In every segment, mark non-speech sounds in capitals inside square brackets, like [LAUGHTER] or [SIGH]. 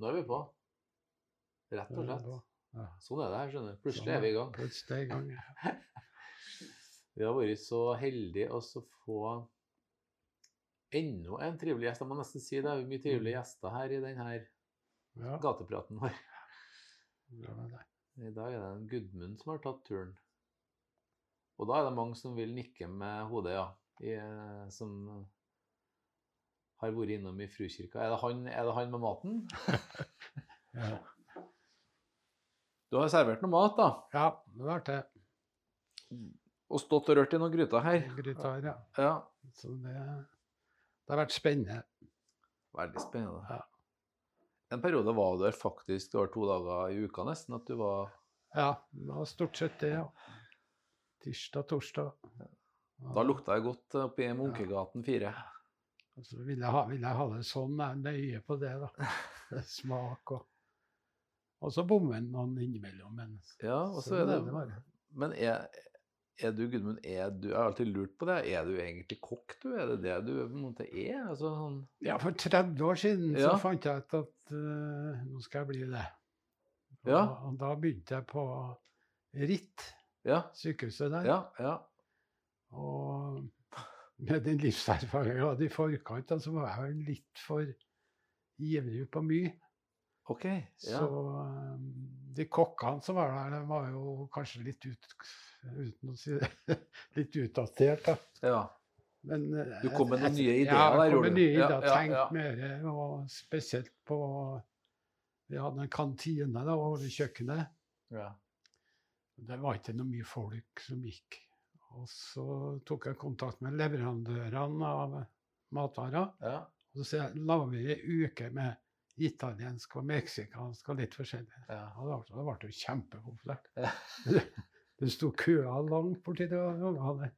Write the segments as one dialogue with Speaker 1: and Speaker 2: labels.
Speaker 1: Nå er vi på. Rett og slett. Sånn er det her, skjønner du. Plutselig er vi i gang.
Speaker 2: Plutselig er vi i gang.
Speaker 1: Vi har vært så heldige å så få enda en trivelig gjest. Jeg må nesten si det. Det er jo mye trivelige gjester her i denne
Speaker 2: Ja,
Speaker 1: gatepraten vår.
Speaker 2: det var det.
Speaker 1: I dag er det en Gudmund som har tatt turen. Og da er det mange som vil nikke med hodet, ja. I, eh, som har vært innom i Frukirka. Er det han, er det han med maten?
Speaker 2: Ja.
Speaker 1: Du har servert noe mat, da.
Speaker 2: ja, det var det.
Speaker 1: Og stått og rørt i noen gryter her.
Speaker 2: Grytar, ja.
Speaker 1: Ja.
Speaker 2: Så det, det har vært spennende.
Speaker 1: Veldig spennende.
Speaker 2: Ja.
Speaker 1: En periode var du der faktisk det var to dager i uka nesten. at du var...
Speaker 2: Ja, det var stort sett det. Ja. Tirsdag, torsdag.
Speaker 1: Da lukta jeg godt eh, oppe i Munkegaten 4.
Speaker 2: Så altså, ville jeg, ha, ville jeg ha det sånn, jeg er nøye på det, da.
Speaker 1: [LAUGHS]
Speaker 2: Smak og Og så bommer noen innimellom, men
Speaker 1: Ja, og så
Speaker 2: sånn
Speaker 1: er det...
Speaker 2: bare.
Speaker 1: Men er, er du, Gudmund, er du, jeg har alltid lurt på det, er du egentlig kokk, du? Er det det du på en måte er? Altså, sånn,
Speaker 2: Ja, for 30 år siden
Speaker 1: Ja.
Speaker 2: så fant jeg ut at eh, nå skal jeg bli det. Og,
Speaker 1: Ja.
Speaker 2: og da begynte jeg på Ritt,
Speaker 1: ja,
Speaker 2: sykehuset der.
Speaker 1: ja, ja.
Speaker 2: Og med den livserfaringen jeg hadde i forkant, da, så var jeg jo litt for ivrig på mye.
Speaker 1: Ok, ja.
Speaker 2: Så eh, de kokkene som var der, de var jo kanskje litt ut, uten å si det, [LAUGHS] litt utdatert. da.
Speaker 1: ja.
Speaker 2: Men, eh,
Speaker 1: Du kom med noen
Speaker 2: jeg-
Speaker 1: nye ideer
Speaker 2: Ja,
Speaker 1: der,
Speaker 2: jeg kom
Speaker 1: gjorde
Speaker 2: med
Speaker 1: du?
Speaker 2: nye
Speaker 1: Ja,
Speaker 2: ideer.
Speaker 1: ja,
Speaker 2: Tenkt
Speaker 1: ja.
Speaker 2: mer, eh, og spesielt på Vi hadde en kantine da, over kjøkkenet.
Speaker 1: ja.
Speaker 2: Det var ikke noe mye folk som gikk. Og så tok jeg kontakt med leverandørene av matvarer.
Speaker 1: ja.
Speaker 2: Og så la vi ei uke med italiensk og meksikansk og litt forskjellig.
Speaker 1: ja.
Speaker 2: Ja, det ble- det ble jo kjempepopulært.
Speaker 1: Ja.
Speaker 2: [LAUGHS] Det sto køer langt borti det området.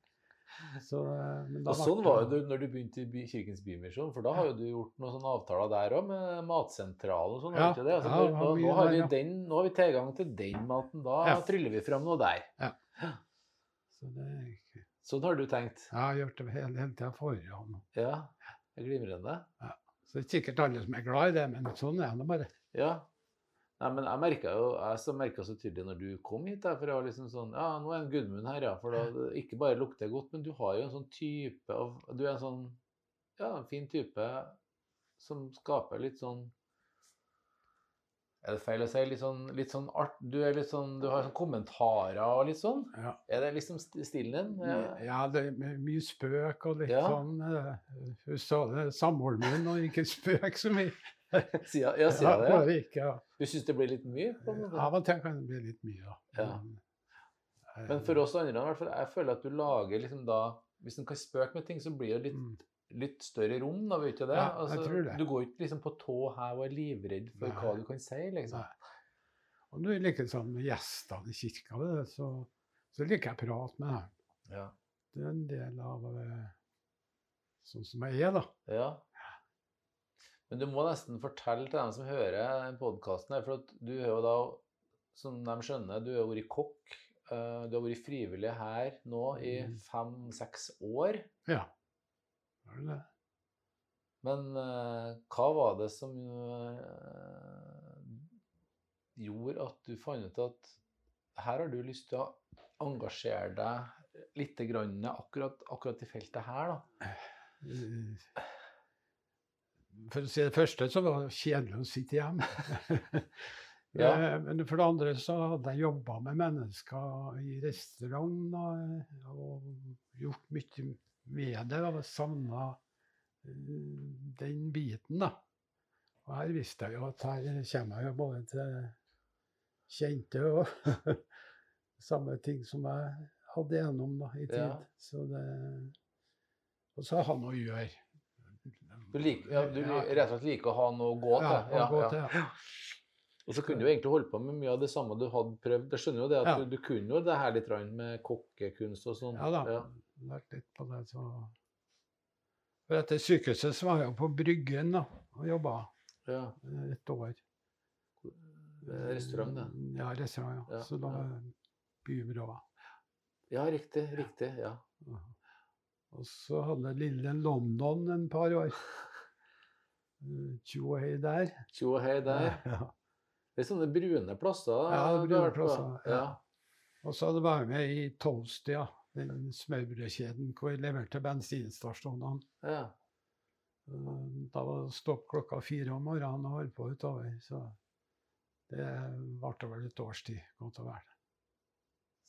Speaker 2: Så, eh, men da
Speaker 1: Og
Speaker 2: ble
Speaker 1: sånn
Speaker 2: det-
Speaker 1: var jo du når du begynte i By- Kirkens Bymisjon, for da har jo du gjort noen sånne avtaler der òg, med Matsentralen og sånn. har
Speaker 2: Ja,
Speaker 1: du ikke det? Altså,
Speaker 2: ja,
Speaker 1: nå-
Speaker 2: det var
Speaker 1: nå,
Speaker 2: mye
Speaker 1: nå, har
Speaker 2: der,
Speaker 1: vi
Speaker 2: ja.
Speaker 1: den, nå har vi tilgang til den maten. Da
Speaker 2: Ja.
Speaker 1: tryller vi fram noe der.
Speaker 2: Så det,
Speaker 1: Sånn har du tenkt.
Speaker 2: jeg har gjort det hele, hele tida forhånd.
Speaker 1: Ja, det er glimrende.
Speaker 2: Så det er sikkert alle som er glad i det, men sånn er det bare.
Speaker 1: Ja. Nei, men jeg merka jo jeg så merket så tydelig når du kom hit, der, for jeg var liksom sånn Ja, nå er en Gudmund her, ja. For da ikke bare lukter jeg godt, men du har jo en sånn type av Du er en sånn Ja, en fin type som skaper litt sånn Er det feil å si? Litt sånn, litt sånn art Du er litt sånn Du har sånn kommentarer og litt sånn.
Speaker 2: Ja.
Speaker 1: Er det liksom st- stilen din? Ja.
Speaker 2: Ja, det er my- mye spøk og litt
Speaker 1: Ja.
Speaker 2: sånn eh, Hun sa det, samboeren min, og ikke spøk så mye.
Speaker 1: [LAUGHS] Sier, ja, sier jeg det? Ja.
Speaker 2: Bare ikke, ja.
Speaker 1: Du syns det blir litt mye? på en måte?
Speaker 2: Av og til kan det bli litt mye, da.
Speaker 1: Ja.
Speaker 2: Men, eh,
Speaker 1: Men for oss andre, i hvert fall, jeg føler at du lager liksom da Hvis en kan spøke med ting, så blir det litt,
Speaker 2: mm,
Speaker 1: litt større rom, da, vet du det? Altså,
Speaker 2: Ja, jeg tror det.
Speaker 1: Du går ikke liksom på tå her og er livredd for
Speaker 2: Nei.
Speaker 1: hva du kan si, liksom.
Speaker 2: Nei. Og nå er det liksom med gjestene i kirka, vet du, så, så liker jeg å prate med dem.
Speaker 1: Ja.
Speaker 2: Det er en del av eh, sånn som jeg er, da.
Speaker 1: ja. Men du må nesten fortelle til dem som hører podkasten her, for at du er jo da, som de skjønner, du har vært kokk. eh, Du har vært frivillig her nå i
Speaker 2: Mhm.
Speaker 1: fem-seks år.
Speaker 2: Ja. Er det det?
Speaker 1: Men eh, hva var det som eh, gjorde at du fant ut at her har du lyst til å engasjere deg litt grann akkurat, akkurat i feltet her, da?
Speaker 2: Eh, For å si det første, så var det kjedelig å sitte hjemme.
Speaker 1: [LAUGHS] Ja.
Speaker 2: Eh, Men for det andre så hadde jeg jobba med mennesker i restaurant og, og gjort mye med det. Og savna den biten, da. Og her visste jeg jo at her kommer jeg jo både til kjente og [LAUGHS] samme ting som jeg hadde gjennom da, i tid.
Speaker 1: Ja.
Speaker 2: Så det, og så har han noe å gjøre.
Speaker 1: Du liker ja, du li- rett og slett liker å ha noe å gå til?
Speaker 2: Ja, å gå til, ja.
Speaker 1: Og så kunne du egentlig holde på med mye av det samme du hadde prøvd. Jeg skjønner jo det at
Speaker 2: Ja.
Speaker 1: du, du kunne jo det her litt grann med kokkekunst og sånn.
Speaker 2: Ja da. Lært litt på det, så For etter sykehuset så var jeg jo på Bryggen da, og jobba
Speaker 1: Ja.
Speaker 2: eh, et år.
Speaker 1: Eh, Restaurant, det.
Speaker 2: Ja, restaurant. ja.
Speaker 1: Ja,
Speaker 2: Så da
Speaker 1: ja.
Speaker 2: bybyrået.
Speaker 1: Ja, riktig. Riktig. Ja.
Speaker 2: Og så hadde jeg lille London en par år. eh, Tjo og hei der.
Speaker 1: Tjo og hei der.
Speaker 2: Ja.
Speaker 1: Det er sånne brune plasser. da,
Speaker 2: Ja, det er
Speaker 1: du har
Speaker 2: brune
Speaker 1: vært på.
Speaker 2: plasser, ja. Og så hadde jeg vært med i Tolstia, den smørbrødkjeden hvor jeg leverte bensinstasjonene.
Speaker 1: Ja, ja.
Speaker 2: Eh, Da var det stopp klokka fire om morgenen og holdt på utover. Så det varte vel et års tid, godt og vel.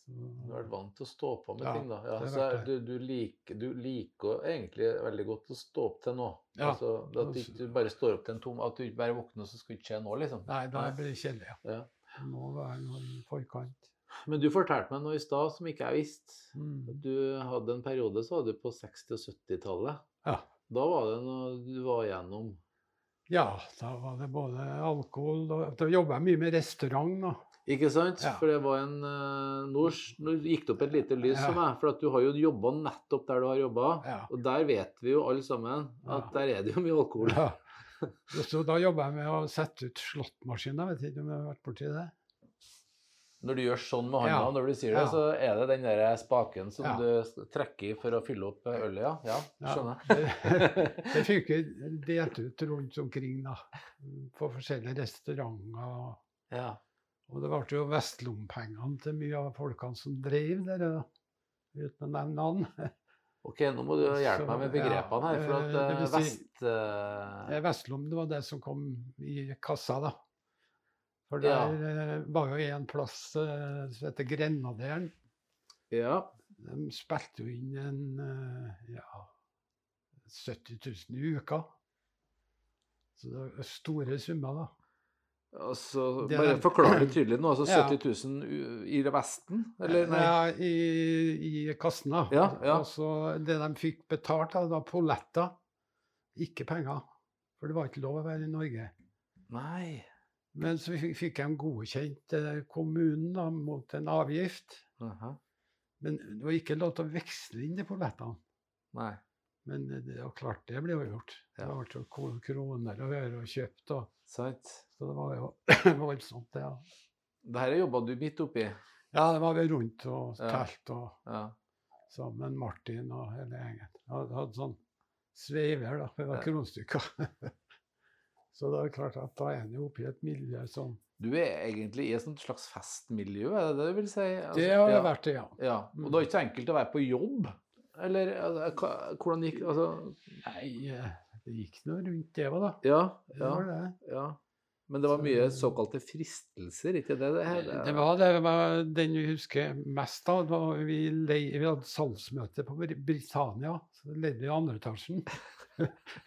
Speaker 1: Du har vært
Speaker 2: Så,
Speaker 1: vant til å stå på med
Speaker 2: Ja,
Speaker 1: ting, da. Ja,
Speaker 2: det har
Speaker 1: så
Speaker 2: vært
Speaker 1: er, du, du, liker, du liker egentlig veldig godt å stå opp til nå.
Speaker 2: Ja.
Speaker 1: Altså, at du ikke du bare står opp til en tom At du ikke bare våkner, og så skal det ikke skje nå, liksom.
Speaker 2: nei, da blir det kjedelig.
Speaker 1: Ja.
Speaker 2: Det Må være noe i forkant.
Speaker 1: Men du fortalte meg noe i stad som ikke jeg visste.
Speaker 2: Mm.
Speaker 1: Du hadde en periode så hadde du på 60- og 70-tallet.
Speaker 2: Ja.
Speaker 1: Da var det noe du var gjennom.
Speaker 2: ja, da var det både alkohol og Da jobba jeg mye med restaurant, da.
Speaker 1: Ikke sant?
Speaker 2: Ja.
Speaker 1: For det var en eh, Nå s- nå gikk det opp et lite lys
Speaker 2: Ja.
Speaker 1: for meg, for at du har jo jobba nettopp der du har jobba.
Speaker 2: Ja.
Speaker 1: Og der vet vi jo alle sammen at der er det jo mye alkohol.
Speaker 2: Ja. Og Så da jobba jeg med å sette ut slåttmaskiner. Vet ikke om jeg har vært borti det.
Speaker 1: Når du gjør sånn med hånda,
Speaker 2: Ja.
Speaker 1: når du sier det,
Speaker 2: Ja.
Speaker 1: så er det den der spaken som
Speaker 2: Ja.
Speaker 1: du s- trekker i for å fylle opp eh, ølet, ja. Ja,
Speaker 2: Ja.
Speaker 1: skjønner.
Speaker 2: Det,
Speaker 1: jeg.
Speaker 2: [LAUGHS] det fikk vi delt ut rundt omkring, da. På forskjellige restauranter.
Speaker 1: ja.
Speaker 2: Og det ble jo vestlompengene til mye av folkene som drev der, da. uten å nevne navn.
Speaker 1: Ok, nå må du hjelpe meg med
Speaker 2: Så, ja,
Speaker 1: begrepene her, for at eh,
Speaker 2: eh, det vil si-
Speaker 1: vest... eh,
Speaker 2: Eh, Vestlom det var det som kom i kassa, da. For der
Speaker 1: Ja.
Speaker 2: eh, var jo en plass eh, som heter Grenaderen.
Speaker 1: ja.
Speaker 2: De spilte jo inn en eh, ja, 70 000 i uka. Så det var store summer, da.
Speaker 1: Altså,
Speaker 2: Det
Speaker 1: bare
Speaker 2: der-
Speaker 1: forklar det tydelig nå. Altså
Speaker 2: Ja.
Speaker 1: 70 000 u- i det vesten? Eller, nei.
Speaker 2: Ja, i, i kassen, da.
Speaker 1: Ja, ja.
Speaker 2: Og så det de fikk betalt, da, det var polletter, ikke penger. For det var ikke lov å være i Norge.
Speaker 1: nei.
Speaker 2: Men så fikk- fikk de godkjent eh, kommunen da, mot en avgift.
Speaker 1: Aha.
Speaker 2: Men det var ikke lov til å veksle inn de pollettene.
Speaker 1: Nei.
Speaker 2: Men det det var klart, det ble jo gjort. Det
Speaker 1: Ja.
Speaker 2: ble jo ko- kroner og øre og kjøpt. Og,
Speaker 1: Sant.
Speaker 2: så det var jo [CLEARS THROAT] voldsomt, det. Ja.
Speaker 1: Dette jobba du midt oppi.
Speaker 2: ja, det var vi rundt og
Speaker 1: Ja.
Speaker 2: telt og
Speaker 1: Ja.
Speaker 2: sammen Martin og hele gjengen. Jeg hadde, hadde sånn sveiver, da.
Speaker 1: Ja.
Speaker 2: Det var kronstykker. [LAUGHS] Så det er klart at da er en jo oppe i et miljø som
Speaker 1: Du er egentlig i et sånt slags festmiljø, er det det du vil si? Altså,
Speaker 2: Det har
Speaker 1: ja.
Speaker 2: det vært, Mm. det, ja.
Speaker 1: Ja, og det er ikke så enkelt å være på jobb. Eller altså, hva- hvordan gikk Altså,
Speaker 2: Nei, eh, det gikk nå rundt det òg, da.
Speaker 1: ja,
Speaker 2: Det
Speaker 1: ja,
Speaker 2: var det.
Speaker 1: ja. Men det var
Speaker 2: Så-
Speaker 1: mye såkalte fristelser, ikke det det her?
Speaker 2: Eh, Det var det var den vi husker mest av. Da vi, lei, vi hadde salgsmøte på Bri- Britannia. Så leide vi i andre etasjen. [LAUGHS]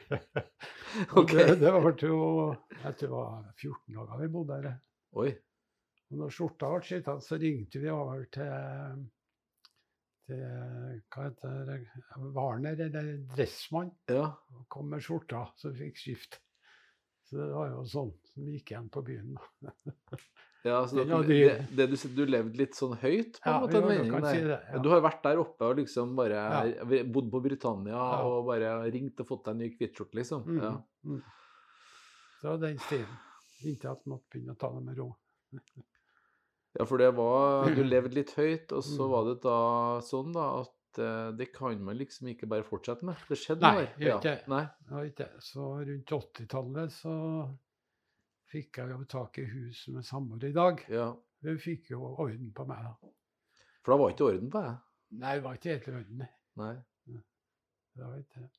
Speaker 2: Og
Speaker 1: Ok.
Speaker 2: det, det var jo Jeg tror det var 14 dager vi bodde der.
Speaker 1: Oi.
Speaker 2: Og når skjorta ble skittet, så ringte vi over til, til hva heter det, Warner, eller Dressmann,
Speaker 1: Ja.
Speaker 2: og kom med skjorta, så vi fikk skift. Så det var jo sånn som gikk igjen på byen. da.
Speaker 1: ja så
Speaker 2: Ja,
Speaker 1: dere, det,
Speaker 2: det-
Speaker 1: det du, du levde litt sånn høyt, på en
Speaker 2: Ja,
Speaker 1: måte? en
Speaker 2: jo, du
Speaker 1: mening
Speaker 2: kan
Speaker 1: der.
Speaker 2: si det, ja.
Speaker 1: Du har vært der oppe og liksom bare bodd på Britannia
Speaker 2: Ja.
Speaker 1: og bare ringt og fått deg en ny hvittskjorte, liksom?
Speaker 2: Mhm,
Speaker 1: Ja.
Speaker 2: mhm. Så det var den stilen. Inntil at man måtte begynne å ta det med ro.
Speaker 1: Ja, for det var
Speaker 2: [CLEARS THROAT]
Speaker 1: Du levde litt høyt, og så
Speaker 2: Mm.
Speaker 1: var det da sånn da at eh, det kan man liksom ikke bare fortsette med. Det skjedde
Speaker 2: Nei,
Speaker 1: noe her.
Speaker 2: gjør ikke det.
Speaker 1: Nei.
Speaker 2: Det var ikke det. Så rundt 80-tallet så fikk jeg jo tak i huset med samboer i dag.
Speaker 1: Ja.
Speaker 2: Hun fikk jo orden på meg. da.
Speaker 1: For da var ikke orden på deg.
Speaker 2: Nei, det var ikke helt i orden. nei.
Speaker 1: Nei.
Speaker 2: Det var ikke det.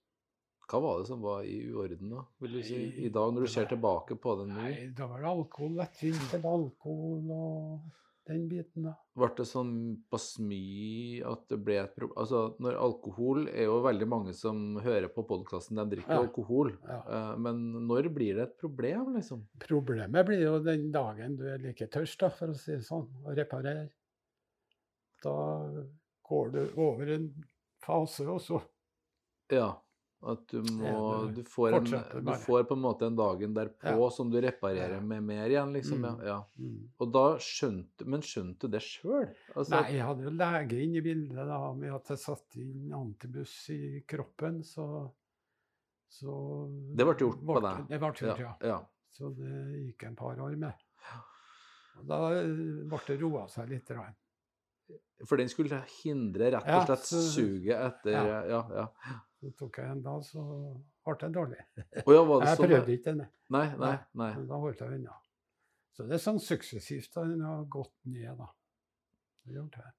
Speaker 1: Hva var det som var i uorden da, vil du si?
Speaker 2: Nei,
Speaker 1: I dag, når du
Speaker 2: det
Speaker 1: ser
Speaker 2: var-
Speaker 1: tilbake på det nå?
Speaker 2: Nei, da var det alkohol, lettvint eller alkohol og den biten, da.
Speaker 1: Ble det sånn på smy at det ble et problem Altså, når alkohol er jo veldig mange som hører på podkasten, de drikker
Speaker 2: Ja.
Speaker 1: alkohol.
Speaker 2: Ja.
Speaker 1: Eh, Men når blir det et problem, liksom?
Speaker 2: Problemet blir jo den dagen du er like tørst, da, for å si det sånn, og reparere. Da går du over en fase, og så
Speaker 1: Ja. At du må
Speaker 2: Ja,
Speaker 1: Du
Speaker 2: du
Speaker 1: får, en,
Speaker 2: fortsetter
Speaker 1: du
Speaker 2: bare.
Speaker 1: får på en måte en dagen derpå
Speaker 2: Ja.
Speaker 1: som du reparerer
Speaker 2: Ja.
Speaker 1: med mer igjen, liksom. Ja.
Speaker 2: Mm.
Speaker 1: ja.
Speaker 2: mm.
Speaker 1: Og da skjønte Men skjønte du det sjøl? Altså,
Speaker 2: Nei, jeg hadde jo lege inne i bildet da, med at jeg satte inn antibuss i kroppen, så, så
Speaker 1: Det ble gjort på deg.
Speaker 2: Det ble gjort, ja.
Speaker 1: ja, ja.
Speaker 2: Så det gikk en par år med. Og da eh, ble det roa seg litt. grann.
Speaker 1: For den skulle hindre rett
Speaker 2: Ja,
Speaker 1: og slett
Speaker 2: så-
Speaker 1: suget etter Ja,
Speaker 2: ja.
Speaker 1: ja. ja.
Speaker 2: Så tok jeg en dag, så ble det dårlig.
Speaker 1: Å ja, var det
Speaker 2: Jeg
Speaker 1: sånn? ja?
Speaker 2: prøvde ikke den, jeg.
Speaker 1: Nei, nei, nei.
Speaker 2: men da holdt jeg unna. Så det er sånn suksessivt da den har gått ned, da. Det har gjort det.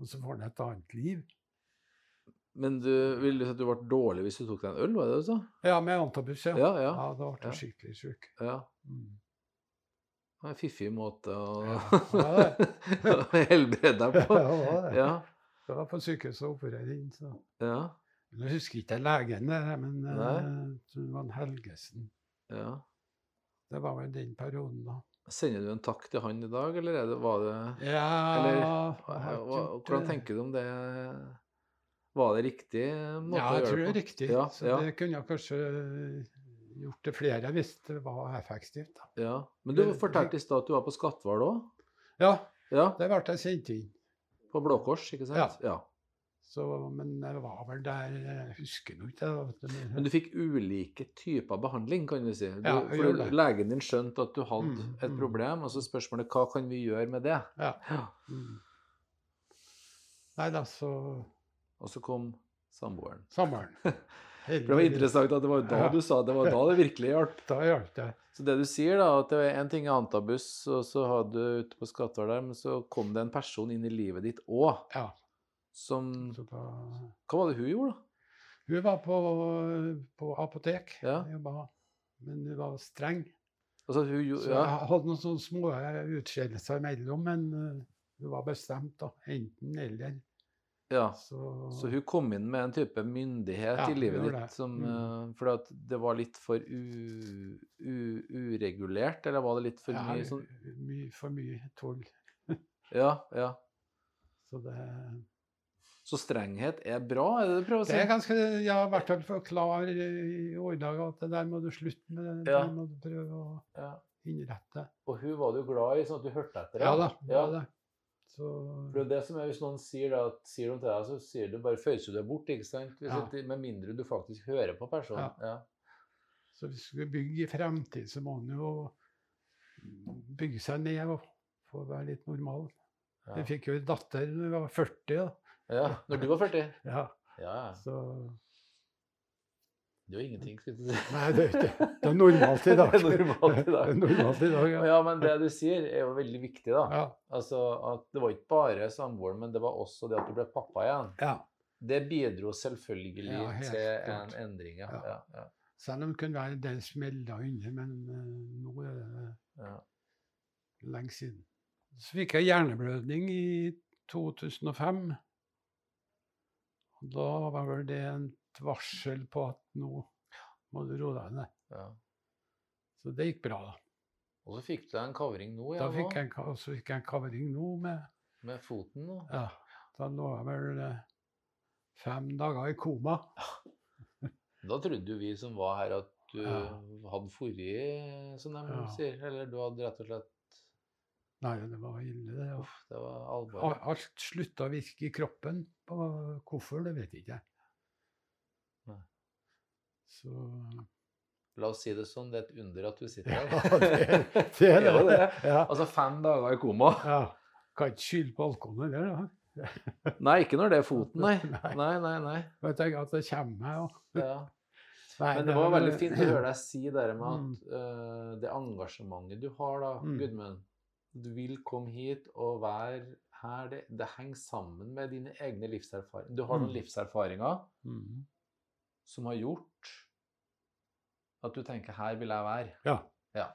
Speaker 2: Og så får den et annet liv.
Speaker 1: Men du ville si at du ble dårlig hvis du tok deg en øl, var det det du sa?
Speaker 2: Ja, med antabus, ja.
Speaker 1: Ja, ja.
Speaker 2: Ja, da ble
Speaker 1: Ja.
Speaker 2: jeg skikkelig sjuk.
Speaker 1: ja. [LAUGHS]
Speaker 2: Mm.
Speaker 1: Det er En fiffig måte å
Speaker 2: Ja,
Speaker 1: [LAUGHS] helbrede deg
Speaker 2: Ja, det
Speaker 1: på.
Speaker 2: var det.
Speaker 1: Ja,
Speaker 2: Jeg var på sykehuset og opererte inn, så
Speaker 1: ja,
Speaker 2: Nå husker ikke jeg legen, der, men eh,
Speaker 1: Nei.
Speaker 2: jeg tror det var en Helgesen.
Speaker 1: ja.
Speaker 2: Det var vel den perioden, da.
Speaker 1: Sender du en takk til han i dag, eller er det, var det
Speaker 2: Ja
Speaker 1: Eller,
Speaker 2: jeg har
Speaker 1: hva,
Speaker 2: ikke
Speaker 1: hva-
Speaker 2: gjort,
Speaker 1: Hvordan
Speaker 2: eh,
Speaker 1: tenker du om det? Var det riktig måte
Speaker 2: Ja,
Speaker 1: å
Speaker 2: jeg
Speaker 1: gjøre
Speaker 2: tror det
Speaker 1: det
Speaker 2: er
Speaker 1: på?
Speaker 2: riktig.
Speaker 1: Ja,
Speaker 2: så
Speaker 1: ja.
Speaker 2: det kunne jeg kanskje gjort det flere hvis det var effektivt. da.
Speaker 1: Ja. Men du
Speaker 2: Det-
Speaker 1: fortalte i stad at du var på Skatval òg?
Speaker 2: Ja,
Speaker 1: Ja,
Speaker 2: det ble jeg sendt inn.
Speaker 1: på Blå Kors, ikke sant? Ja.
Speaker 2: Så, men jeg var vel der Jeg husker nå ikke. da, vet
Speaker 1: [LAUGHS]
Speaker 2: du,
Speaker 1: Men du fikk ulike typer behandling, kan du si. Du,
Speaker 2: Ja, jeg
Speaker 1: for
Speaker 2: gjorde det.
Speaker 1: legen din skjønte at du hadde
Speaker 2: Mm,
Speaker 1: et
Speaker 2: mm.
Speaker 1: problem, og så spørsmålet hva kan vi gjøre med det?
Speaker 2: Ja. Mm. Nei da, så
Speaker 1: Og så kom samboeren.
Speaker 2: Sommeren.
Speaker 1: For [LAUGHS] det var interessant at det var da
Speaker 2: Ja.
Speaker 1: du sa at det var da det virkelig hjalp.
Speaker 2: Da hjalp det.
Speaker 1: Så det du sier, da, at det var én ting er antabus, og så hadde du ute på Skatval der, men så kom det en person inn i livet ditt òg,
Speaker 2: Ja.
Speaker 1: som
Speaker 2: Så da,
Speaker 1: Hva var det hun gjorde, da?
Speaker 2: hun var på, på apotek.
Speaker 1: Ja.
Speaker 2: Jobba, men hun var streng.
Speaker 1: Altså, hun
Speaker 2: Så
Speaker 1: gjorde Ja.
Speaker 2: jeg hadde noen sånne små utskjellelser imellom, men eh, hun var bestemt, da. Enten eller.
Speaker 1: ja.
Speaker 2: Så,
Speaker 1: Så hun kom inn med en type myndighet
Speaker 2: Ja,
Speaker 1: i livet
Speaker 2: hun gjorde
Speaker 1: ditt
Speaker 2: det.
Speaker 1: som
Speaker 2: Mm.
Speaker 1: eh, Fordi at det var litt for u, u, uregulert, eller var det litt for
Speaker 2: Ja,
Speaker 1: mye sånn
Speaker 2: mye- for mye tull.
Speaker 1: Ja, ja.
Speaker 2: Så det,
Speaker 1: Så strenghet er bra, er det det du prøver å
Speaker 2: det er
Speaker 1: si?
Speaker 2: ganske Jeg har i hvert fall forklar eh, i årdag at det der må du slutte med. Det
Speaker 1: Ja.
Speaker 2: der må du prøve å
Speaker 1: Ja.
Speaker 2: innrette.
Speaker 1: Og hun var du glad i, sånn at du hørte etter?
Speaker 2: Ja da. det
Speaker 1: Ja.
Speaker 2: er det. Så
Speaker 1: For det er det som er, Hvis noen sier, da, at, sier noe til deg, så sier du bare føyser du deg bort, ikke sant? Hvis
Speaker 2: Ja.
Speaker 1: at- med mindre du faktisk hører på personen. Ja.
Speaker 2: Så hvis du skal bygge i fremtid, så må en jo bygge seg ned og få være litt normal.
Speaker 1: Ja.
Speaker 2: Jeg fikk jo en datter da jeg var 40. da.
Speaker 1: ja. Når du var 40?
Speaker 2: Ja,
Speaker 1: Ja, ja.
Speaker 2: så
Speaker 1: Det var ingenting, skulle du si.
Speaker 2: Nei, det er [LAUGHS] ikke Det er normalt
Speaker 1: [LAUGHS]
Speaker 2: i dag.
Speaker 1: Det er normalt i
Speaker 2: [LAUGHS] Det er
Speaker 1: dag.
Speaker 2: normalt i dag, ja.
Speaker 1: Ja, men det du sier, er jo veldig viktig, da.
Speaker 2: Ja.
Speaker 1: Altså at det var ikke bare samboeren, men det var også det at du ble pappa igjen.
Speaker 2: ja.
Speaker 1: Det bidro selvfølgelig
Speaker 2: Ja, helt
Speaker 1: til
Speaker 2: klart.
Speaker 1: en endring. Ja.
Speaker 2: Ja.
Speaker 1: Ja, ja,
Speaker 2: Selv om det kunne være en del smeller under, men eh, nå er det
Speaker 1: ja.
Speaker 2: lenge siden. Så fikk jeg hjerneblødning i 2005. Og da var vel det et varsel på at nå må du roe deg ned.
Speaker 1: ja.
Speaker 2: Så det gikk bra. da.
Speaker 1: Og så fikk du deg en kavring nå, ja,
Speaker 2: Da fikk
Speaker 1: nå,
Speaker 2: jeg, en ka- og så fikk jeg en kavring nå med
Speaker 1: med foten. nå.
Speaker 2: ja, Da lå jeg vel eh, fem dager i koma.
Speaker 1: Da trodde jo vi som var her, at du
Speaker 2: Ja.
Speaker 1: hadde forrige, som de
Speaker 2: Ja.
Speaker 1: sier. Eller du hadde rett og slett
Speaker 2: Nei, det var ille, det.
Speaker 1: Uff, det var alvor.
Speaker 2: Al- Alt slutta å virke i kroppen. På hvorfor, det vet jeg ikke.
Speaker 1: Nei.
Speaker 2: Så
Speaker 1: La oss si det sånn, det er et under at du sitter
Speaker 2: Ja,
Speaker 1: her.
Speaker 2: [LAUGHS] det-
Speaker 1: er jo [LAUGHS] det.
Speaker 2: Ja.
Speaker 1: [LAUGHS] Altså fem dager i koma.
Speaker 2: ja. Kan ikke skylde på alkohol heller, da.
Speaker 1: Nei, ikke når det er foten, nei.
Speaker 2: [LAUGHS] Nei.
Speaker 1: Nei, nei, nei.
Speaker 2: Og jeg tenker at det kommer meg og
Speaker 1: Ja.
Speaker 2: Nei,
Speaker 1: Men det var
Speaker 2: er-
Speaker 1: veldig fint å høre deg si det der med at eh, det engasjementet du har, da,
Speaker 2: Mm.
Speaker 1: Gudmund Du vil komme hit og være her. Det, det henger sammen med dine egne livserfaringer. Du har noen
Speaker 2: Mm.
Speaker 1: livserfaringer
Speaker 2: [LAUGHS] Mm.
Speaker 1: som har gjort at du tenker 'her vil jeg være'.
Speaker 2: Ja.
Speaker 1: Ja.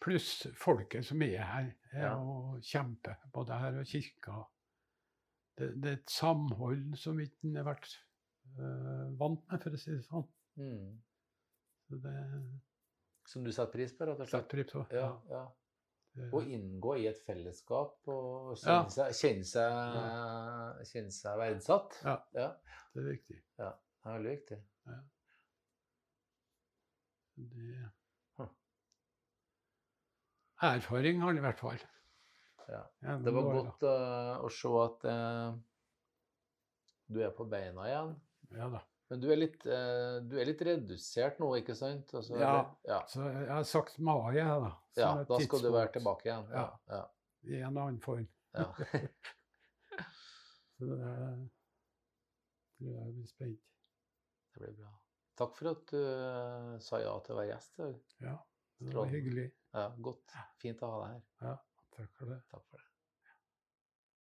Speaker 2: Pluss folket som er her, er
Speaker 1: Ja.
Speaker 2: og kjemper, både her og kirka. Det, det er et samhold som ikke en har vært øh, vant med, for å si det sånn.
Speaker 1: Mm.
Speaker 2: Så det
Speaker 1: Som du setter pris på, rett og slett.
Speaker 2: setter pris på.
Speaker 1: Ja, ja.
Speaker 2: Det-
Speaker 1: Å inngå i et fellesskap og
Speaker 2: Ja.
Speaker 1: kjenne seg, kjenne seg, kjenne seg verdsatt.
Speaker 2: Ja.
Speaker 1: ja.
Speaker 2: Det er viktig.
Speaker 1: Det er veldig viktig.
Speaker 2: Det...
Speaker 1: Hm.
Speaker 2: Erfaring har han i hvert fall.
Speaker 1: Ja.
Speaker 2: Gjennom
Speaker 1: Det var
Speaker 2: åra.
Speaker 1: godt eh, å se at eh, du er på beina igjen.
Speaker 2: Ja da.
Speaker 1: Men du er litt, eh, du er litt redusert nå, ikke sant? Altså,
Speaker 2: Ja.
Speaker 1: eller- ja.
Speaker 2: Så jeg har sagt mai, jeg, da. som
Speaker 1: ja
Speaker 2: et
Speaker 1: da skal du være
Speaker 2: tidspunkt
Speaker 1: tilbake igjen. Ja. Ja.
Speaker 2: I en annen form.
Speaker 1: [LAUGHS] Ja.
Speaker 2: Så det tror jeg blir spent.
Speaker 1: Det blir bra. Takk for at du eh, sa ja til å være gjest. i dag.
Speaker 2: Ja, det var
Speaker 1: Strålende.
Speaker 2: hyggelig.
Speaker 1: Ja, godt. Fint å ha deg her.
Speaker 2: Takk for det.
Speaker 1: Takk for det.